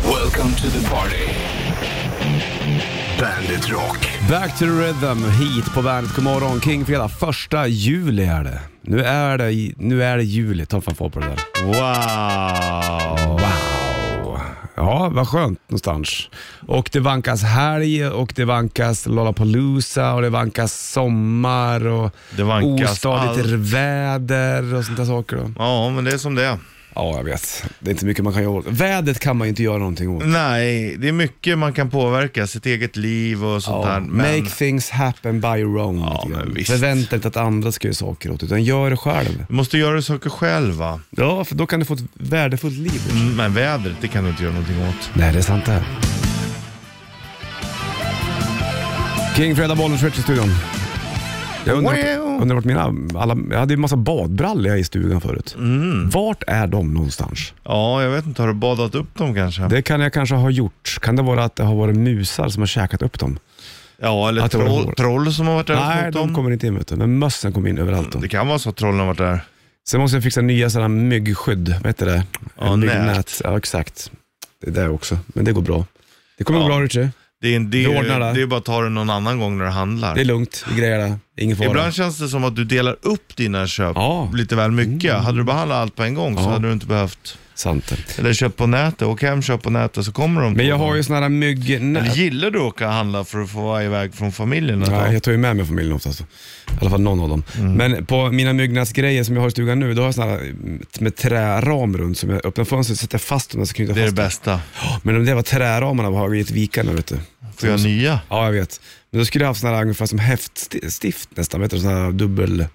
Welcome to the party. Bandit Rock. Back to the rhythm, hit på bandet. God morgon, King fredag. Första juli är det. Nu är det, nu är det juli. Ta en fanfar på det där. Wow! Wow! Ja, vad skönt någonstans. Och det vankas helg och det vankas Lollapalooza och det vankas sommar och Det vankas ostadigt allt. väder och sånt där saker. Då. Ja, men det är som det är. Ja, jag vet. Det är inte mycket man kan göra åt. Vädret kan man ju inte göra någonting åt. Nej, det är mycket man kan påverka, sitt eget liv och sånt Ja, här. Men, Make things happen by your own. Ja, lite grann. men visst. Förvänta inte att andra ska göra saker åt utan gör det själv. du måste göra saker själv va? Ja, för då kan du få ett värdefullt liv. Mm, Men vädret, det kan du inte göra någonting åt. Nej, det är sant det. här. King Fredag Bollen Switch i studion. Jag undrar, Wow. undrar vart mina, alla, jag hade ju en massa badbrallor jag i stugan förut. Vart är de någonstans? Ja, jag vet inte, har du badat upp dem kanske? Det kan jag kanske ha gjort. Kan det vara att det har varit musar som har käkat upp dem? Ja, eller Att det var hår. troll, troll som har varit där och Nej, snott de dem. kommer inte in vet du. Men mössen kom in överallt. Då. Det kan vara så att trollen har varit där. Sen måste jag fixa nya sådana myggskydd. Vad heter det? Ja, nät. Ja, exakt. Det är där också. Men det går bra. Det kommer Ja. gå bra Richie. Det är, en- det, Du ordnar det. är, det är bara att ta det någon annan gång när du handlar. Det är lugnt. Vi grejar det. Ingen fara. Ibland känns det som att du delar upp dina köp Ja. Mm. lite väl mycket. Hade du behandlat allt på en gång så Ja. hade du inte behövt. Sant det. Eller köpt på nätet, åk hem, köp på nätet så kommer de. Men på jag dem. har ju sådana här Eller myggnät. gillar du att åka och handla för att få vara iväg från familjen? ett Nej, tag? jag tar ju med mig familjen oftast. I alla fall någon av dem. Mm. Men på mina myggnätsgrejer som jag har i stugan nu, då har jag sådana här mm, med träram runt. Som jag öppnar fönstret sätter fast dem och så knyter Det är det fast dem. bästa. Men de där var träramarna har jag gett vika nu vet du. Får jag nya? Ja, jag vet. Men då skulle jag haft sådana här ungefär som häftstift nästan. Vet du, sådana här dubbel...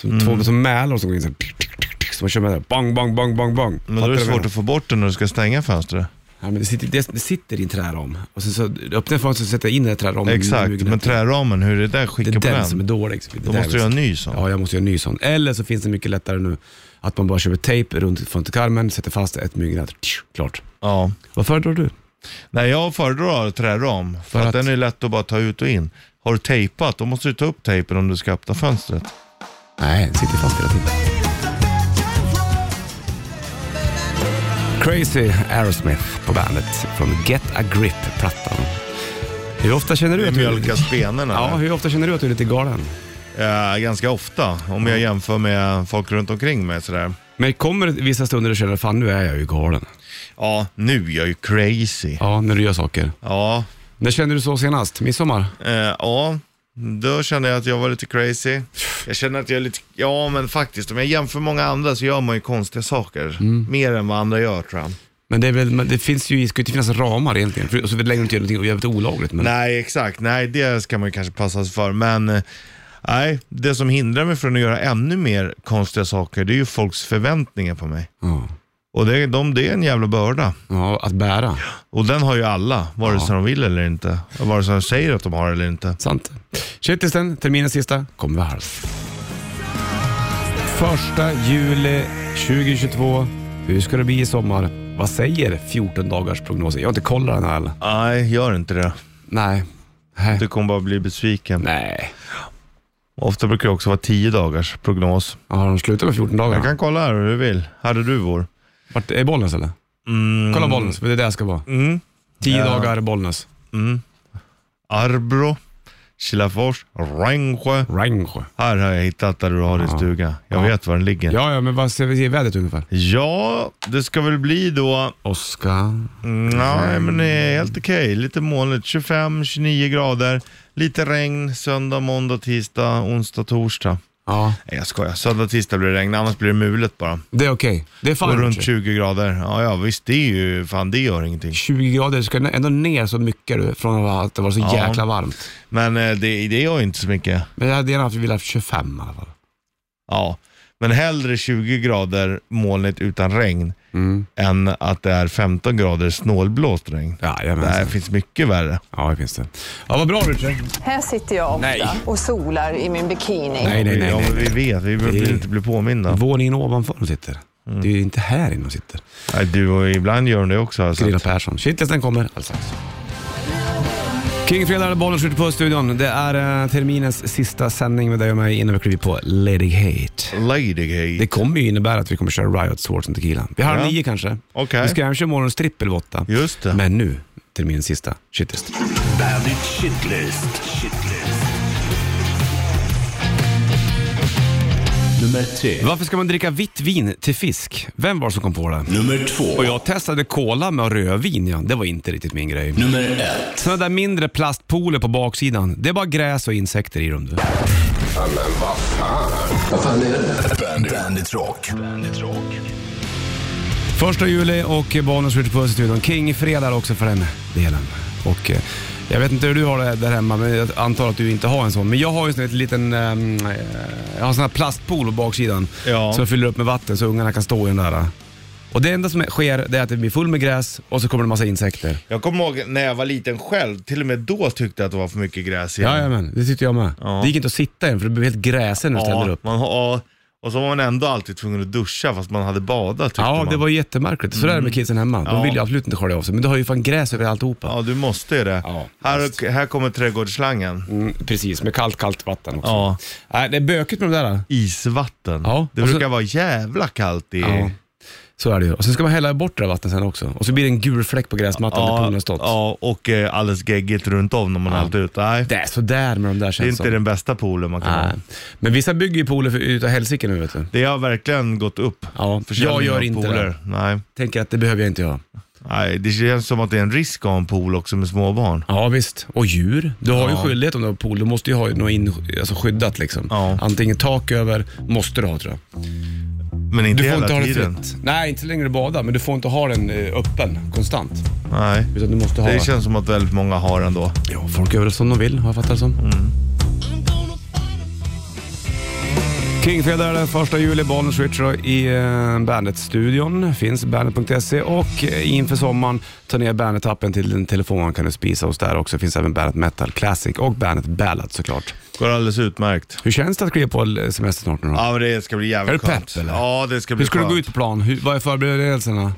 Som, Mm. två, som mälar som går in så här, tick, tick, tick, tick, Som man kör med det här, bang, bang, bang, bang, bang. Men då är det svårt att få bort den när du ska stänga fönstret. Ja, men det, sitter, det, det sitter i en träram. Och sen så öppnar jag fönstret och sätter jag in den här träramen. i Exakt, myggnätet. men träramen, hur är det där? Det Skicka är på den som är den. dålig. Det Då där måste du vet ha en ny sån. Ja, jag måste göra en ny sån. Eller så finns det mycket lättare nu att man bara köper tejp runt fönsterkarmen, sätter fast ett myggnät. tsch, Klart. Ja. Vad föredrar du? Nej, jag föredrar träram. För, att, att- den är lätt att bara ta ut och in. Har du tejpat, då måste du ta upp tejpen om du ska öppna fönstret. Nej, den sitter fast hela tiden. Crazy Aerosmith på bandet från Get A Grip-plattan. Hur ofta känner du Det att du är lite... mjölkas benen. Ja, eller? hur ofta känner du att du är lite galen? Eh, ganska ofta, om jag jämför med folk runt omkring mig. Sådär. Men kommer det vissa stunder du känner, fan nu är jag ju galen. Ja, nu är jag ju crazy. Ja, när du gör saker. Ja, När kände du så senast? Midsommar? Eh, ja, då kände jag att jag var lite crazy. Jag känner att jag är lite, ja men faktiskt om jag jämför många andra så gör man ju konstiga saker. Mer än vad andra gör tror jag. Men det, är väl, men det finns ju, det ska ju inte finnas ramar egentligen. För, och så lägger du inte gör någonting jävligt olagligt. Men Nej exakt, nej det ska man ju kanske passa sig för. Men eh, nej, det som hindrar mig från att göra ännu mer konstiga saker det är ju folks förväntningar på mig. ja. Och det, de, det är en jävla börda. ja, att bära. Och den har ju alla, vare sig de vill eller inte. Och vare sig de säger att de har eller inte. Sant. Shitlisten, terminens sista, kommer vid halv. Första juli 2022. Hur ska det bli i sommar? Vad säger 14 dagars prognosen? Jag har inte kollat den här. eller? Nej, gör inte det. Nej. Nej. Du kommer bara bli besviken. Nej. Ofta brukar det också vara tio dagars prognos. Har de slutat med 14 dagar? Jag kan kolla här hur du vill. Hade du vår? Vart, är Bollnäs eller? Mm. Kolla Bollnäs, för det är där jag ska vara. Mm. 10 Ja. dagar Bollnäs. Arbro, Kilafors, Rengsjö. Rangsjö. Här har jag hittat där du har din stuga. Jag Ja. vet var den ligger. Ja. Ja, ja, men vad ser ser vädret ungefär? det ska väl bli då... Oskar. Mm, Nej, men det är helt okej. Lite molnigt. 25-29 grader. Lite regn söndag, måndag, tisdag, onsdag, torsdag. Ja, Nej, jag skojar. Söndag, tisdag blir det regn. Annars blir det mulet bara. det är okej. Det är Och fan runt runt 20 grader. Ja, ja, visst. Det är ju... Fan, det gör ingenting. 20 grader. Ska den ändå ner så mycket du, från att det var så Ja. jäkla varmt. Men eh, det, det gör ju inte så mycket. Men jag hade gärna haft, vi ville haft 25 i alla fall. Ja, men hellre 20 grader molnigt utan regn Mm. än att det är 15 grader snålblåst regn. Det här Jajamensan. finns mycket värre. Ja, det finns det. Ja, vad bra Richard. Här sitter jag ofta Nej. och solar i min bikini. Nej, nej, nej. ja, nej, men nej. vi vet, vi Det- vill inte bli påminna. Våningen ovanför de sitter. Mm. Det är ju inte här inne de sitter. Nej, du och ibland gör de det också. Alltså. Grilla Persson. Shitlisten kommer alldeles strax. King Fredag och bollen skjuter på studion. Det är eh, terminens sista sändning med dig och mig innan vi kliver på ledighet. Det Ladygate. kommer ju innebära att vi kommer köra Riot, Swords and Tequila. Vi har Ja. nio kanske. Okej. Vi ska även köra morgonens trippel vid åtta. Just det. Men nu, terminens sista shitlist. Bandit Shitlist. Shitlist. Nummer tre. Varför ska man dricka vitt vin till fisk? Vem var det som kom på det? Nummer två. Och jag testade cola med rödvin, ja. det var inte riktigt min grej. Nummer ett. Sådana där mindre plastpooler på baksidan, det är bara gräs och insekter i dem. du. Bandit, Bandit Rock. Bandit Rock. Första juli och Bonus skjuter på i studion. King fredag också för den delen. Och eh, jag vet inte hur du har det där hemma, men jag antar att du inte har en sån. Men jag har ju en sån här liten, ehm, eh, jag har en sån här plastpool på baksidan. Ja. Som jag fyller upp med vatten så ungarna kan stå i den där. Och det enda som sker det är att det blir full med gräs och så kommer det en massa insekter. Jag kommer ihåg när jag var liten själv, till och med då tyckte jag att det var för mycket gräs igen. Jajamän, det tyckte jag med. Det gick inte att sitta i den för det blev helt gräsen när du ställde upp. man, har- ja, och så var man ändå alltid tvungen att duscha fast man hade badat tyckte Ja, man. Mm. det var ju jättemärkligt. Så där är det med kidsen hemma. De Ja. vill ju absolut inte skölja av sig, men du har ju fan gräs över alltihopa. Ja, du måste ju det. Ja, här, här kommer trädgårdsslangen. Mm, precis, med kallt, kallt vatten också. Ja. Nej, det är bökigt med de där. Isvatten. Ja, Det och så- brukar vara jävla kallt i... Ja. Så är det ju. Och sen ska man hälla bort det där vattnet sen också. Och så blir det en gul fläck på gräsmattan där poolen har stått. ja, och eh, alldeles geggigt runt om när man är ute. ut. Nej, Det är sådär med de där det är känns inte som. den bästa poolen man kan ha. Nej. Men vissa bygger ju pooler för- utav helsike nu vet du. Det har verkligen gått upp. Ja, Försäljningen jag gör av inte pooler. det. Nej. Tänker att det behöver jag inte göra. Nej, det känns som att det är en risk att ha en pool också med småbarn. Ja visst. Och djur. Du har ju Ja. skyldighet om du har pool. Du måste ju ha något in, alltså skyddat liksom. Ja. Antingen tak över, måste du ha tror jag. Men inte Du får hela inte ha det tiden. fritt. Nej, inte så länge du badar, men du får inte ha den eh, öppen konstant. Nej. Utan du måste ha... Det känns som att väldigt många har ändå. Ja, folk gör väl som de vill, har jag fattat det som. Mm. Kingfredag är den första juli, Bollnäs Richard i eh, Bandet-studion. Finns bandet.se och eh, inför sommaren, ta ner Bandet-appen till din telefon kan du spisa oss där också. Finns även Bandet Metal Classic och Bandet Ballad såklart. Går alldeles utmärkt. Hur känns det att kliva på l- semester snart nu då? Ja, men det ska bli jävligt Är du pepp, skönt. eller? Ja, det ska bli Hur ska du skönt. gå ut på plan? Hur, vad är förberedelserna?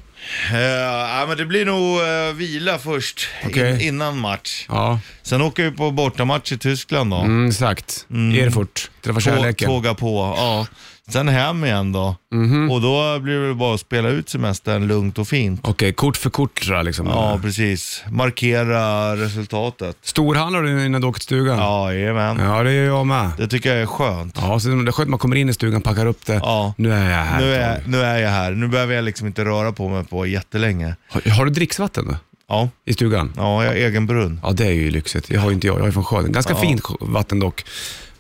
Eh, ja, men det blir nog eh, vila först in, Okej. innan match. Ja, Sen åker vi på bortamatch i Tyskland då. mm, exakt. Erfurt, träffa Tå, kärleken. tåga på. Ja. Sen hem igen då. Mhm. Och då blir det bara att spela ut semestern lugnt och fint. Okej, kort för kort tror jag, liksom. Ja, precis. Markera resultatet. Storhandlar du innan du åker till stugan? Ja, jajamän. Ja, det gör jag med. Det tycker jag är skönt. Ja, så det är skönt man kommer in i stugan, packar upp det. Ja. Nu är jag här. Nu är, nu är jag här. Nu behöver jag liksom inte röra på mig på jättelänge. Har, har du dricksvatten då? Ja, i stugan? ja jag har egen brunn. Ja, det är ju lyxigt. Jag har ju inte jag. Jag är från sjön. Ganska fint sj- vatten dock.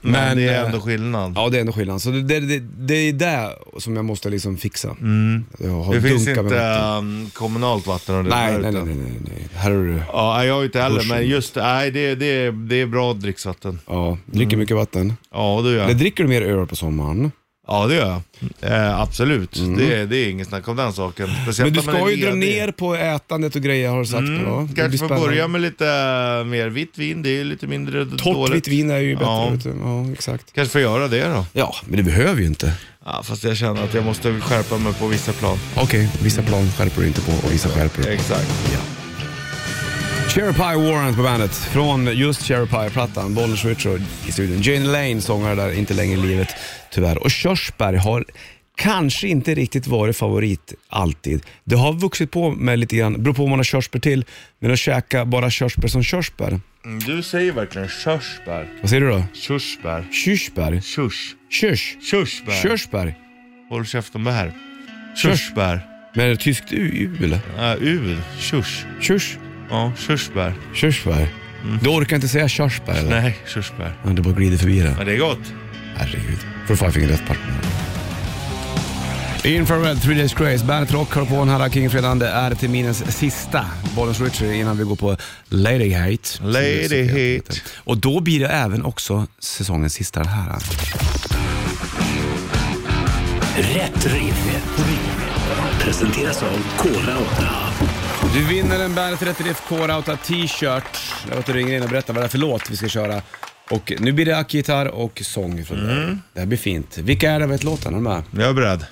Men, Men, det är eh, ändå skillnad. Ja, det är ändå skillnad. Så det, det, det, det är det som jag måste liksom fixa. Jag har Mm. det finns dunkar med inte vatten. ehm, kommunalt vatten och det Nej, där, nej, nej, utan- nej, nej, nej. Här är du. Ja, nej, jag har ju inte heller, Duschen. men just nej, det, det, det är bra dricksvatten. Ja, dricker mycket vatten. Mm. Ja, det gör Eller jag. dricker du mer öl på sommaren? Ja, det gör jag. Eh, absolut. Det, det är inget snack om den saken. Speciellt Mm. Men du när man ska är ju dra ledig. ner på ätandet och grejer har du sagt. Mm, då. Det blir Kanske får spännande. börja med lite eh, mer vitt vin, det är ju lite mindre Torrt dåligt. vitt vin är ju bättre. Ja. vet du. ja exakt. Kanske får göra det då. Ja, men det behöver ju inte. Ja, fast jag känner att jag måste skärpa mig på vissa plan. Okej, vissa plan skärper du inte på och vissa skärper du. Exakt. Cherry Pie Warrant på bandet från just Cherry Pie-plattan. Bollnäs Richard i studion. Jane Lane, sångare där, inte längre i livet tyvärr. Och Körsberg har kanske inte riktigt varit favorit alltid. Det har vuxit på med lite grann, beror på om man har körsbär till, men att käka bara körsbär som körsbär. Mm, Du säger verkligen körsbär. Vad säger du då? Körsbär. Körsbär? Körs. Körs? Körsbär. Körsbär? Håll käften med här. Körsbär. Men är det tyskt U, U eller? Uh, U. Körs. Körs? Ja, körsbär. Körsbär? Du orkar inte säga körsbär eller? Nej, körsbär. Ja, du bara glider förbi det. Men det är gott. Herregud. Får Five Finger Death Punch. Infrared, Three Days Grace, Bandet Rock har på den här Kingfredagen. Det är terminens sista Bollens Richard innan vi går på Lady Hate. Lady Hate. Och då blir det även också säsongens sista det här. Rätt riff. Presenteras av Kora 8. Du vinner en Bandet Rätt Riff Core T-shirt. Jag låter ringer in och berätta vad det är för låt vi ska köra. Och nu blir det gitarr och sång från Mm. dig. Det här blir fint. Vilka är det? Vet låten? Är du med? Jag är beredd.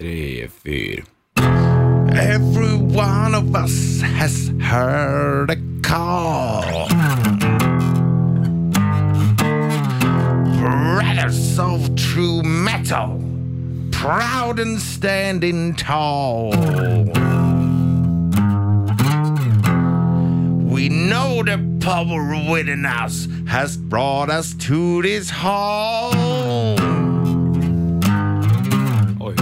Tre, fyra. Every one of us has heard a call. Brothers of true metal, proud and standing tall. We know the power within us has brought us to this hall. Oj.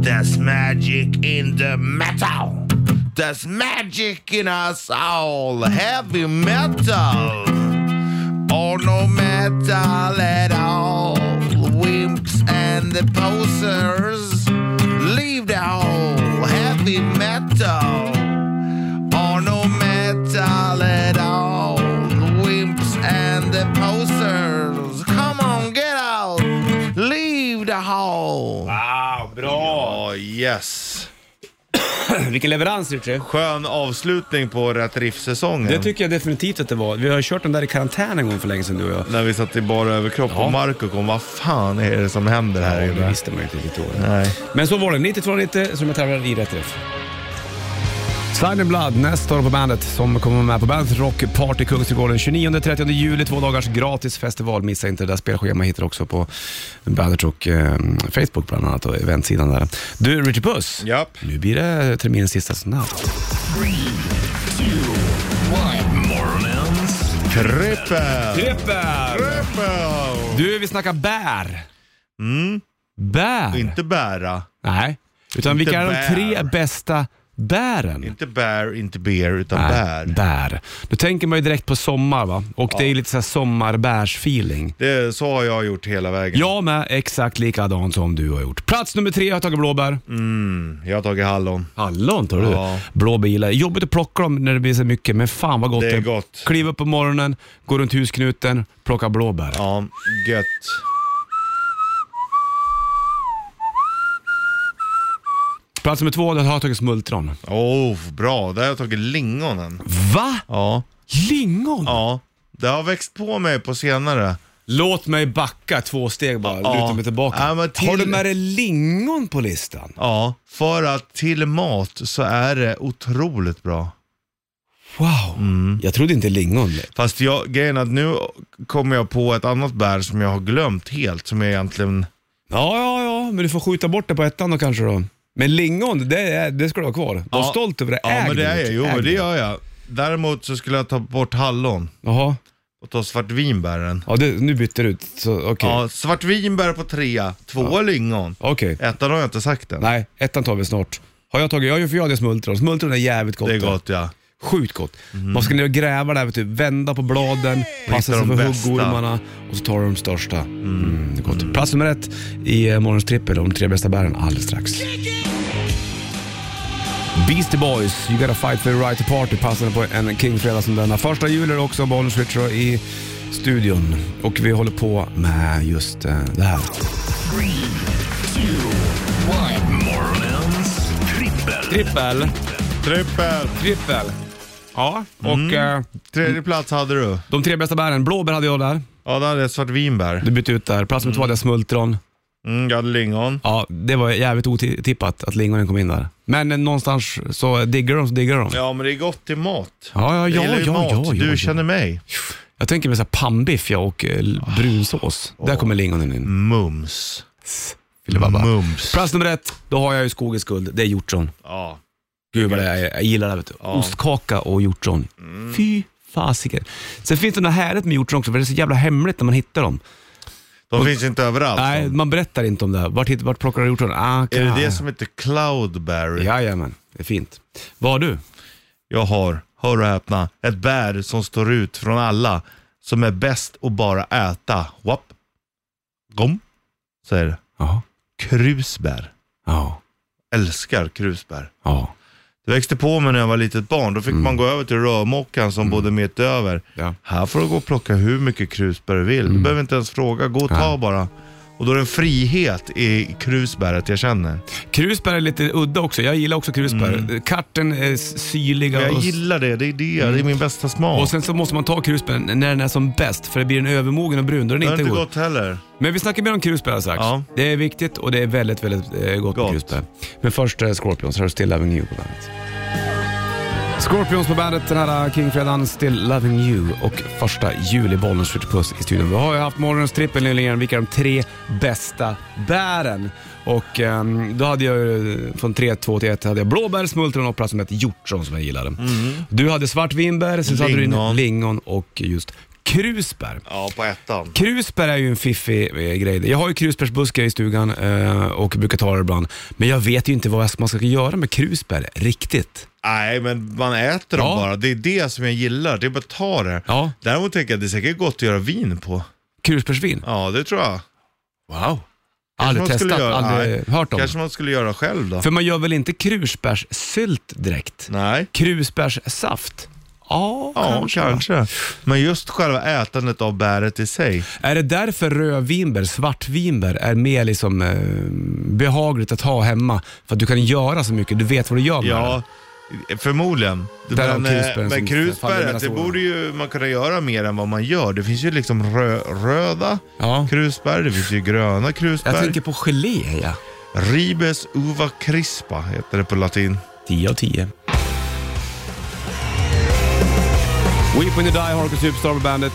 There's magic in the metal. There's magic in us all. Heavy metal. Or no metal at all. Wimps and the posers. Leave the hole. Heavy metal. Or no metal at all. Wimps and the posers. Come on, get out. Leave the hall. Ah, bra! Ja, yes. Vilken leverans Richie. Skön avslutning på Rätt Riff-säsongen. Det tycker jag definitivt att det var. Vi har ju kört den där i karantän en gång för länge sedan du och jag. När vi satt i bara överkropp och Marco kom, vad fan är det som händer här Ja, det inne? visste man ju inte riktigt då. Nej. Men så var det, 9290 som jag tävlar i rätt träff. Slide and Blood, nästa år på bandet som kommer med på Bandet Rock Party Kungsträdgården 29-30 juli. Två dagars gratis festival. Missa inte det där spelschemat. Hittar du också på Bandet Rock eh, Facebook bland annat och eventsidan där. Du, Richard Puss. Japp. Nu blir det terminens sista snabb. Morgonens Trippel! Trippel! Trippel! Du, vi snackar bär. Mm. Bär? Inte bära. Nej, utan Inte vilka är de bär. tre bästa bären? Inte bär, inte beer, utan Nej, bär. bär. Äh, Då tänker man ju direkt på sommar va? Och det är lite så här sommarbärsfeeling. Det, så har jag gjort hela vägen. Jag med, exakt likadant som du har gjort. Plats nummer tre har jag tagit blåbär. Jag har tagit hallon. Hallon tar du. Mm. Ja. Blåbär gillar jag. Jobbigt att plocka dem när det blir så mycket, men fan vad gott Det är gott. Kliva upp på morgonen, gå runt husknuten, plocka blåbär. Ja, gött. Plats nummer två, där har jag tagit smultron. Oh, bra. Där har jag tagit lingonen. Va? Ja. Lingon? Ja. Det har växt på mig på senare. Låt mig backa två steg bara, Ja. luta mig tillbaka. Ja, men till- Har du med dig lingon på listan? Ja, för att till mat så är det otroligt bra. Wow, Mm. jag trodde inte lingon. Fast jag, grejen är att nu kommer jag på ett annat bär som jag har glömt helt, som jag egentligen... Ja, ja, ja, men du får skjuta bort det på ettan då kanske då. Men lingon, det, är, det ska du ha kvar. Var Ja. stolt över det. Ja, Äg men det är jag. Richard, Jo, äg men det gör jag. Däremot så skulle jag ta bort hallon Jaha, och ta svartvinbären. ja, det, nu bytte du ut. så Okej, Ja, svartvinbär på trea, tvåa lingon. okej. Ettan har jag inte sagt än. Nej, ettan tar vi snart. Har jag tagit, ja för jag hade smultron. Smultron är jävligt gott. det är gott ja. Sjukt gott. Mhm. Man ska ner och gräva där, vet du. vända på bladen, passa sig de för bästa. huggormarna och så tar du de största. Mm, det är gott. Plats nummer ett i eh, morgons trippel, om de tre bästa bären, alldeles strax. Beastie Boys, You Gotta Fight For Your Right To Party, passande på en Kingfredag som denna. Första juli är det också Bollnäs Ritcher i studion. Och vi håller på med just eh, det här. Morgonens trippel. Trippel, Trippel! trippel. Ja, och Mm. eh, Tredje plats hade du. de tre bästa bären. Blåbär hade jag där. Ja, där hade jag svartvinbär. Du bytte ut där. Plats nummer två hade jag smultron. Mm, jag hade lingon. Ja, det var jävligt otippat att lingonen kom in där. Men eh, någonstans så diggar de så diggar de. Ja, Ja, men det är gott till mat. ja, ja, Jag ja, gillar ju ja, mat. ja, Du ja. känner mig. Jag tänker mig så här pannbiff ja, och eh, Ah. l- brunsås. Där kommer lingonen in. Mm. Mums. Filibabba. Mums. Plats nummer ett, då har jag ju skogens guld. Det är hjortron. Ja. Gud vad det är, jag gillar det. Vet du. Ostkaka och hjortron. Mm. Fy fasiken. Sen finns det något härligt med hjortron också, för det är så jävla hemligt när man hittar dem. De finns inte överallt. Nej, man berättar inte om det. här. Vart, hitt- vart plockar du hjortron? Ah, Är det det kan- som heter cloudberry? Jajamän, det är fint. Vad har du? Jag har, hör och häpna, ett bär som står ut från alla. Som är bäst att bara äta. Wap. Gom. Säger det. Jaha. Krusbär. Ja. Älskar krusbär. Ja. Det växte på mig när jag var litet barn. Då fick man gå över till rörmokaren som bodde mitt över. Mm. Ja. Mm. Här får du gå och plocka hur mycket krusbär du vill. Du behöver inte ens fråga. Gå och ta bara. Och då är det en frihet i krusbäret jag känner. Krusbär är lite udda också. Jag gillar också krusbär. Karten är s- syrliga Jag och, gillar det. Det är det. Det är min bästa smak. och sen så måste man ta krusbären när den är som bäst för det blir den övermogen och brun. Då är det den har inte inte god. gått heller. Men vi snackar mer om krusbär alldeles strax. Ja. Det är viktigt och det är väldigt, väldigt eh, gott, med Gott. krusbär. Men först eh, Scorpions, Hör Still Loving You på bandet. Scorpions på bandet den här eh, Kingfredagen, Still Loving You och första juli Bollnäs skjuter puss i studion. Vi har ju haft morgonens trippel nyligen, vilka är de tre bästa bären? Och ehm, då hade jag ju, från 3, 2 till 1, hade jag blåbär, smultron och platsen med hjortron som jag gillade. Du hade svartvinbär, sen så hade du Mm. Lingon. lingon och just krusbär. Ja, på ettan. Krusbär är ju en fiffig eh, grej. Jag har ju krusbärsbuskar i stugan eh, och brukar ta det ibland. Men jag vet ju inte vad jag- man ska göra med krusbär riktigt. Nej, men man äter Ja. dem bara. Det är det som jag gillar. Det är bara att ta det. Ja. Däremot tänker jag att det är säkert gott att göra vin på. Krusbärsvin? Ja, det tror jag. Wow. Aldrig Kanske man skulle testat, göra- aldrig nej. hört om. Kanske man skulle göra själv då. För man gör väl inte krusbärssylt direkt? Nej. Krusbärssaft? Ja, Ja, kanske. kanske. Men just själva ätandet av bäret i sig. Är det därför rödvinbär, svartvinbär är mer liksom, eh, behagligt att ha hemma? För att du kan göra så mycket, du vet vad du gör med Ja, det. förmodligen. Därav Men, krusbären eh, som men faller krusbäret, mellan det stolarna. borde ju man kunna göra mer än vad man gör. Det finns ju liksom rö röda Ja. krusbär, det finns ju gröna krusbär. Jag tänker på gelé, ja. Ribes uva crispa heter det på latin. 10 av 10. Weep When You Die, Harkus Superstar på bandet.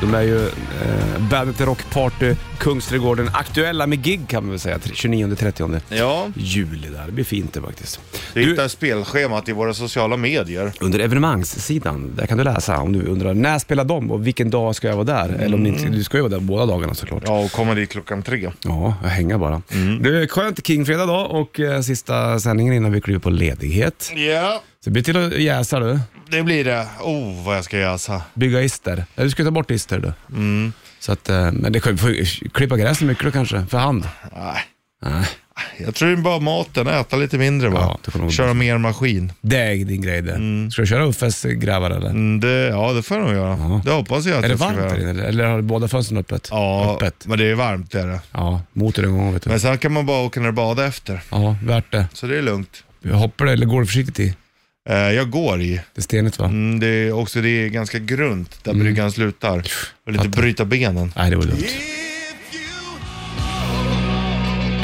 De är ju eh, bandet i Rockparty, Kungsträdgården, aktuella med gig kan man väl säga, 29-30 Ja, juli där. Det blir fint det faktiskt. du Du, hittar spelschemat i våra sociala medier. under evenemangssidan, där kan du läsa om du undrar när spelar de och vilken dag ska jag vara där? Eller om ni inte, du ska ju vara där båda dagarna såklart. Ja, och kommer dit klockan tre. Ja, jag hänger bara. Det är skönt Kingfredag då och eh, sista sändningen innan vi kliver på ledighet. Ja, Så det blir till att jäsa du. det blir det. Oh, vad jag ska jäsa. bygga ister. Ja, du ska ta bort ister du. Mm. Så att, eh, men det kan, får ju klippa gräs med mycket kanske, för hand. Nej. Nej. Jag tror det är bara maten, äta lite mindre bara. Ja, det kommer nog Köra mer maskin. Det är din grej det. Ska du köra Uffes grävare eller? Mm, det, ja, det får jag nog göra. Det hoppas jag att Är det jag ska varmt göra. där inne eller? eller har du båda fönstren öppet? Ja, Öppet. men det är varmt det är det. Ja, motor en gång vet du. Men sen kan man bara åka ner och bada efter, Ja, värt det. så det är lugnt. Jag hoppar det eller går du försiktigt i? Eh, jag går i. Det är stenigt va? Mm, det är också det är ganska grunt Mm. där bryggan slutar. Och lite bryta benen. Nej, det var dumt.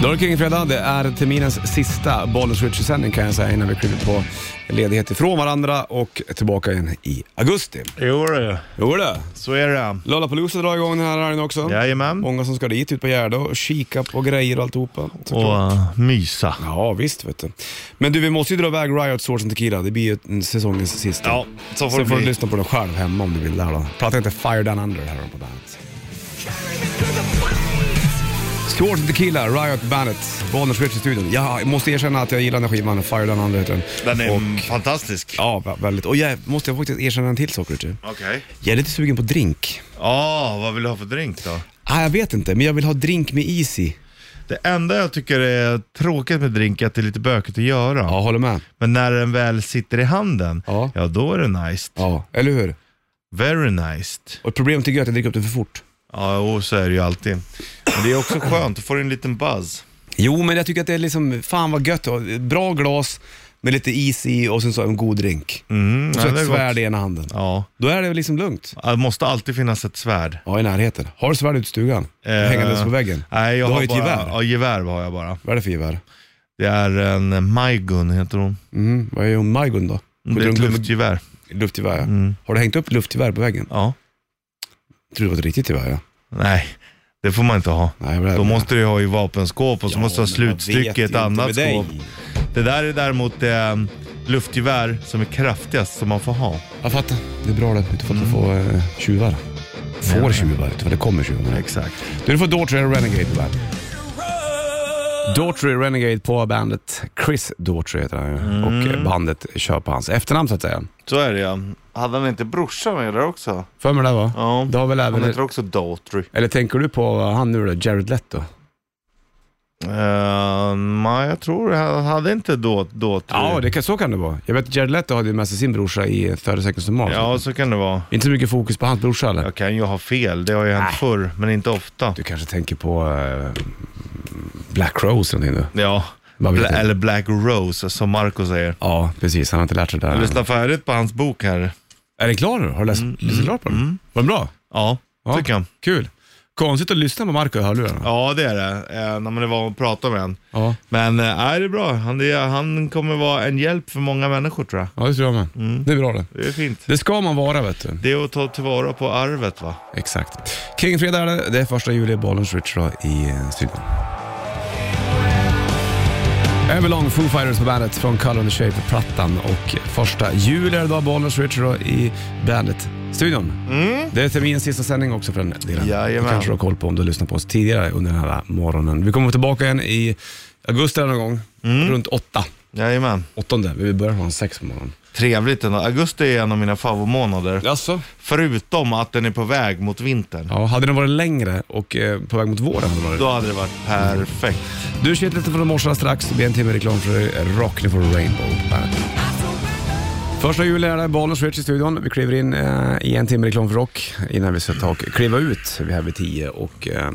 Då är det Kingfredag. Det är terminens sista Bollnäs Ritchie-sändning kan jag säga innan vi kliver på ledighet ifrån varandra och tillbaka igen i augusti. Jo du, Jo du. så är det. Lollapalooza drar igång den här helgen också. Jajamän. Många som ska dit, ut på Gärde och kika på grejer och alltihopa. Och eh, mysa. Ja, visst vet du. Men du, vi måste ju dra iväg Riot Swords and Tequila. Det blir ju en- säsongens sista. Ja, så får Sen det får du bli. lyssna på den själv hemma om du vill där då. Prata inte Fire Down Under här på bandet. Swords and Tequila, Riot Bandet, Bonniers Rich i studion. Jag måste erkänna att jag gillar den här skivan, Fire Down Under heter den. Den är Och, fantastisk. ja, vä- väldigt. Och jag måste jag faktiskt erkänna en till sak, Richard. Okej. Jag är lite sugen på drink. Ja, vad vill du ha för drink då? Ah, jag vet inte, men jag vill ha drink med is i. Det enda jag tycker är tråkigt med drink är att det är lite bökigt att göra. Ja, håller med. Men när den väl sitter i handen, Ja. ja, då är det nice. Ja, eller hur? Very nice. Och problemet tycker jag är att jag dricker upp det för fort. Ja, jo, så är det ju alltid. Men det är också skönt, då får du en liten buzz. Jo, men jag tycker att det är liksom, fan vad gött. och ett Bra glas med lite is i och sen så en god drink. Mm, och ja, så det är ett gott. svärd i ena handen. Ja, Då är det liksom lugnt. det måste alltid finnas ett svärd. Eh, Ja, i närheten. Har du svärd ute i stugan? Hängandes på väggen? Nej, jag du har har ju ett bara, gevär. Ja, gevär har jag bara. Vad är det för gevär? Det är en eh, Maigun, heter hon. Mm, vad är hon Majgun då? Det är ett Mm. luftgevär. luftgevär. Ja. Har du hängt upp luftgevär på väggen? Ja. Jag tror det var ett riktigt gevär ja. Nej, det får man inte ha. Nej, vad är det? Då måste du ju ha i vapenskåp och så Ja, måste du ha men jag vet slutstycke i ett inte annat med dig. skåp. Det där är däremot eh, luftgevär som är kraftigast som man får ha. Jag fattar. Det är bra det, utifrån Mm. att få eh, tjuvar. Får tjuvar, utifrån det kommer tjuvar. Exakt. Du, du får Daughtry och Renegade på bandet. Daughtry Renegade på bandet. Chris Daughtry heter han ju. Och eh, bandet kör på hans efternamn så att säga. Så är det ja. Hade han inte brorsa med där också? För mig det va? Ja. Det har väl även... Han heter också Daughtry. Eller tänker du på eh, han nu då, Jared Leto? Uh, nej, jag tror han hade inte då, då Ja, det kan, så kan det vara. Jag vet att Jared Leto hade ju med sig sin brorsa i 30 seconds to Mars. ja, så kan det vara. Inte så mycket fokus på hans brorsa eller? Jag kan ju ha fel, det har ju hänt förr, men inte ofta. Du kanske tänker på eh, Black Rose eller någonting nu? Ja, Vad vet Bla- jag? eller Black Rose som Marco säger. Ja, precis. Han har Mm, inte lärt sig det Jag där. lyssnade färdigt på hans bok här. Är den klar nu? Har du läst, läst klart på den? Var den bra? Ja, Ja, tycker jag. Kul. Konstigt att lyssna på Marco i hörlurarna. Ja, det är det. Eh, när man var och pratade med honom. Ja. Men eh, nej, det är bra. Han, det, han kommer vara en hjälp för många människor tror jag. Ja, det tror jag med. Mm. Det är bra det. Det är fint. Det ska man vara vet du. Det är att ta tillvara på arvet va. Exakt. Kingfredag är det. Det är första juli, Bollens Ritual i eh, studion. Everlong Foo Fighters på bandet från Color and the Shape-plattan och första juli är det då, Bollens Ritual i bandet-studion. Det är terminens sista sändning också för den delen. Mm. Jajamän. Det kanske du har koll på om du har lyssnat på oss tidigare under den här morgonen. Vi kommer tillbaka igen i augusti någon gång, Mm. runt åtta. Jajamän. Åttonde, vi börjar från sex på morgonen. Trevligt ändå. Augusti är en av mina favoritmånader. Jaså? Förutom att den är på väg mot vintern. Ja, hade den varit längre och eh, på väg mot våren hade den varit Då hade det varit perfekt. Du kör lite från morse strax. Det blir en timme reklam för Rock, nu får du Rainbow på bandet. Första juli är det, Bollnäs Switch i studion. Vi kliver in eh, i en timme reklam för rock innan vi ska ta och kliva ut vid här vid tio och eh,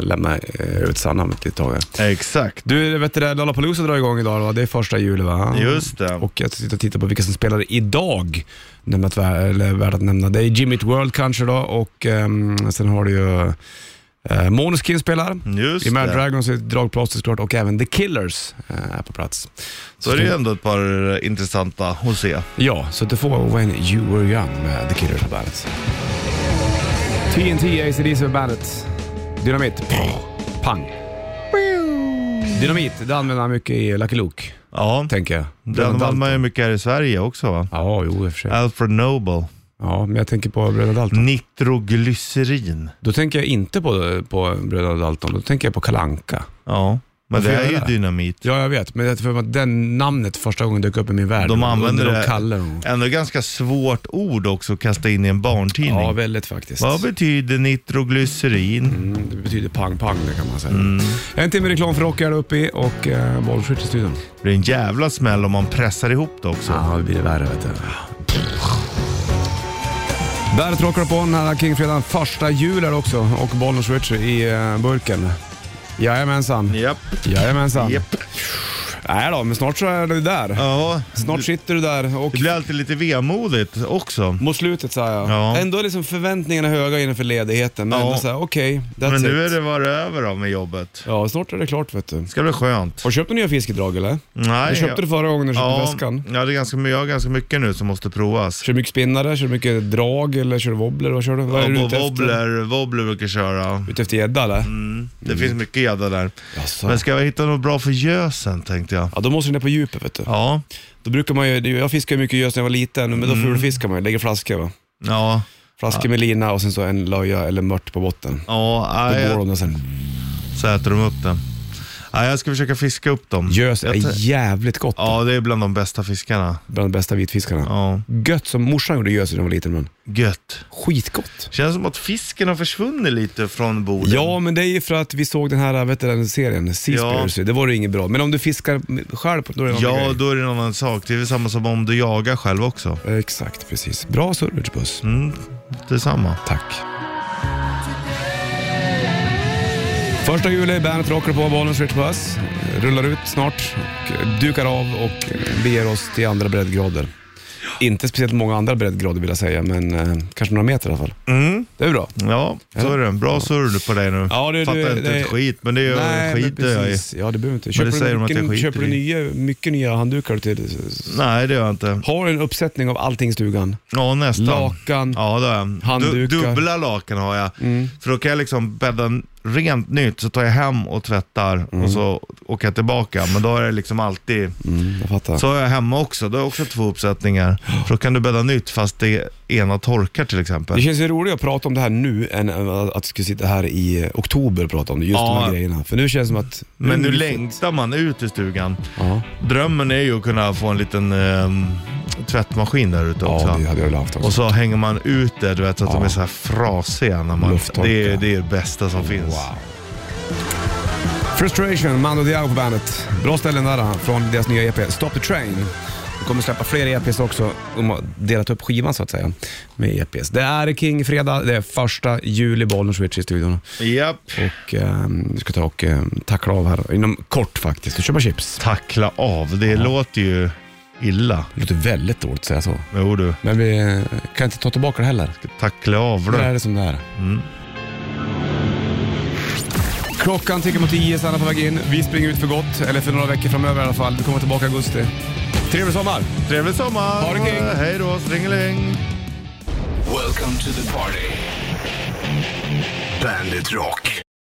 lämna eh, ut Sanna om ett litet tag. här. Exakt. Du, vet du det, Lollapalooza drar igång idag va? Det är första juli va? Just det. Och jag sitter och tittar på vilka som spelar idag. Nämnt, eller värt att nämna. Det är Jimmy Eat World kanske då och ehm, sen har du ju eh, Måneskin spelar. Mm, Just Imagine det. Dragons är ett dragplåster såklart och även The Killers eh, är på plats. Så är det ju ändå ett par eh, intressanta att se. Ja, så du får When You Were Young med The Killers på bandet. TNT, ACDC på bandet. Dynamit. Pang. Dynamit, det använder han mycket i Lucky Luke, Ja, tänker jag. den Dalton. vann man ju mycket här i Sverige också va? Ja, jo i och för sig. Alfred Noble. Ja, men jag tänker på Bröderna Dalton. Nitroglycerin. Då tänker jag inte på, på Bröderna Dalton, då tänker jag på Kalanka. Ja, men Varför det är gör ju jag det? dynamit. Ja, jag vet, men jag tror att den namnet första gången dök upp i min värld. De använder Under de det. kallar dem. Ändå ganska svårt ord också att kasta in i en barntidning. Ja, väldigt faktiskt. Vad betyder nitroglycerin? Mm, det betyder pang-pang det kan man säga. Mm. En timme reklam för rock är det uppe i och eh, bollskytt i studion. Det blir en jävla smäll om man pressar ihop det också. Ja, det blir värre vet du. Bandet rockar på den här Kingfredagen första jul här också och Bollnäs Switch i eh, burken. Jajamensan. Japp. Jajamensan. Japp. Nej då, men snart så är du där. Ja, Snart sitter du där och det blir alltid lite vemodigt också. mot slutet säger jag. Ja. Ändå är liksom förväntningarna höga inför ledigheten, men Ja. ändå såhär, okej, that's Men nu är it. det bara över då med jobbet. Ja, snart är det klart vet du. Det ska bli skönt. Har du köpt några nya fiskedrag eller? Nej, Du köpte det förra gången du köpte ja, väskan. Ja, det är ganska, jag har ganska mycket nu som måste provas. Kör du mycket spinnare, kör du mycket drag eller kör du wobbler? Vad kör du? Vad är du Ja, ute efter? wobbler, wobbler brukar jag köra. Ute efter gädda eller? Mm. Det finns mycket gädda där. Jaså. Men ska jag hitta något bra för gösen tänkte jag. Ja, då måste du ner på djupet vet du. Ja, Då brukar man ju, jag fiskade ju mycket gös när jag var liten, men då fulfiskar man ju, lägger flaskor va. Mm. ja, Flaskor med lina och sen så en löja eller mört på botten. ja. Då nej, går jag, de där sen. så äter de upp den. Nej, jag ska försöka fiska upp dem. Gös Jag är tar- jävligt gott. Ja, det är bland de bästa fiskarna. Bland de bästa vitfiskarna. Ja, Gött som morsan gjorde gös när jag var liten, men gött. skitgott. Känns som att fisken har försvunnit lite från bordet. Ja, men det är ju för att vi såg den här vet du, den serien, Seaspiracy. Det var ju inget bra. Men om du fiskar själv, då är det en annan Ja, grej. då är det en annan sak. Det är väl samma som om du jagar själv också. Exakt, precis. Bra service Puss. Mm, det är samma. Tack. Första juli, bandet rockar på Bollnäs Rich Puss. Rullar ut snart, och dukar av och beger oss till andra breddgrader. Inte speciellt många andra breddgrader vill jag säga, men eh, kanske några meter i alla fall. Mm. Det är bra. Ja, så är det. Bra surr på dig nu. Ja, det- Fattar det- inte det- ett skit, men det Nej, är men skiter jag i. precis. Ja, det behöver inte. det Köper säger du, de att jag mycket, skiter köper du i. nya, mycket nya handdukar till... Nej, det gör jag inte. Har du en uppsättning av allting i stugan? Ja, nästan. Lakan, Ja, det har jag. Du, Handdukar. Mm. dubbla lakan har jag. För då kan jag liksom bädda rent nytt, så tar jag hem och tvättar Mm. och så åker jag tillbaka. Men då är det liksom alltid... Mm, jag fattar. Så har jag hemma också, då har jag också två uppsättningar. För då kan du bädda nytt fast det ena torkar till Det exempel. känns ju roligare att prata om det här nu än att vi skulle sitta här i oktober och prata om det, just de här Ja. grejerna. För nu känns det som att... Men nu är det längtar man ut i stugan. Ja, Drömmen är ju att kunna få en liten ehm, tvättmaskin där ute också. ja det hade jag velat haft Och också. så hänger man ut det, du vet, så att de Ja. är så här frasiga. När man, Lufttorka. det, är, det är det bästa som finns. Wow. Frustration, Mando Diao på bandet. Bra ställen där eh, från deras nya EP Stop the Train. De kommer släppa fler EPs också. De har delat upp skivan så att säga med EPs. Det är King Fredag, det är första juli, Bollnäs Switch i studion. Japp. Och eh, vi ska ta och eh, tackla av här inom kort faktiskt och köpa chips. Tackla av, det låter ju illa. Det låter väldigt dåligt att säga så. Jo du, Men vi eh, kan inte ta tillbaka det heller. tackla av Det det. är det som det är. Klockan tickar mot tio, Sanna på väg in. Vi springer ut för gott, eller för några veckor framöver i alla fall. Vi kommer tillbaka i augusti. Trevlig sommar! Trevlig sommar! Ha det kring. Hej då, stringeling! Welcome to the party. Bandit Rock.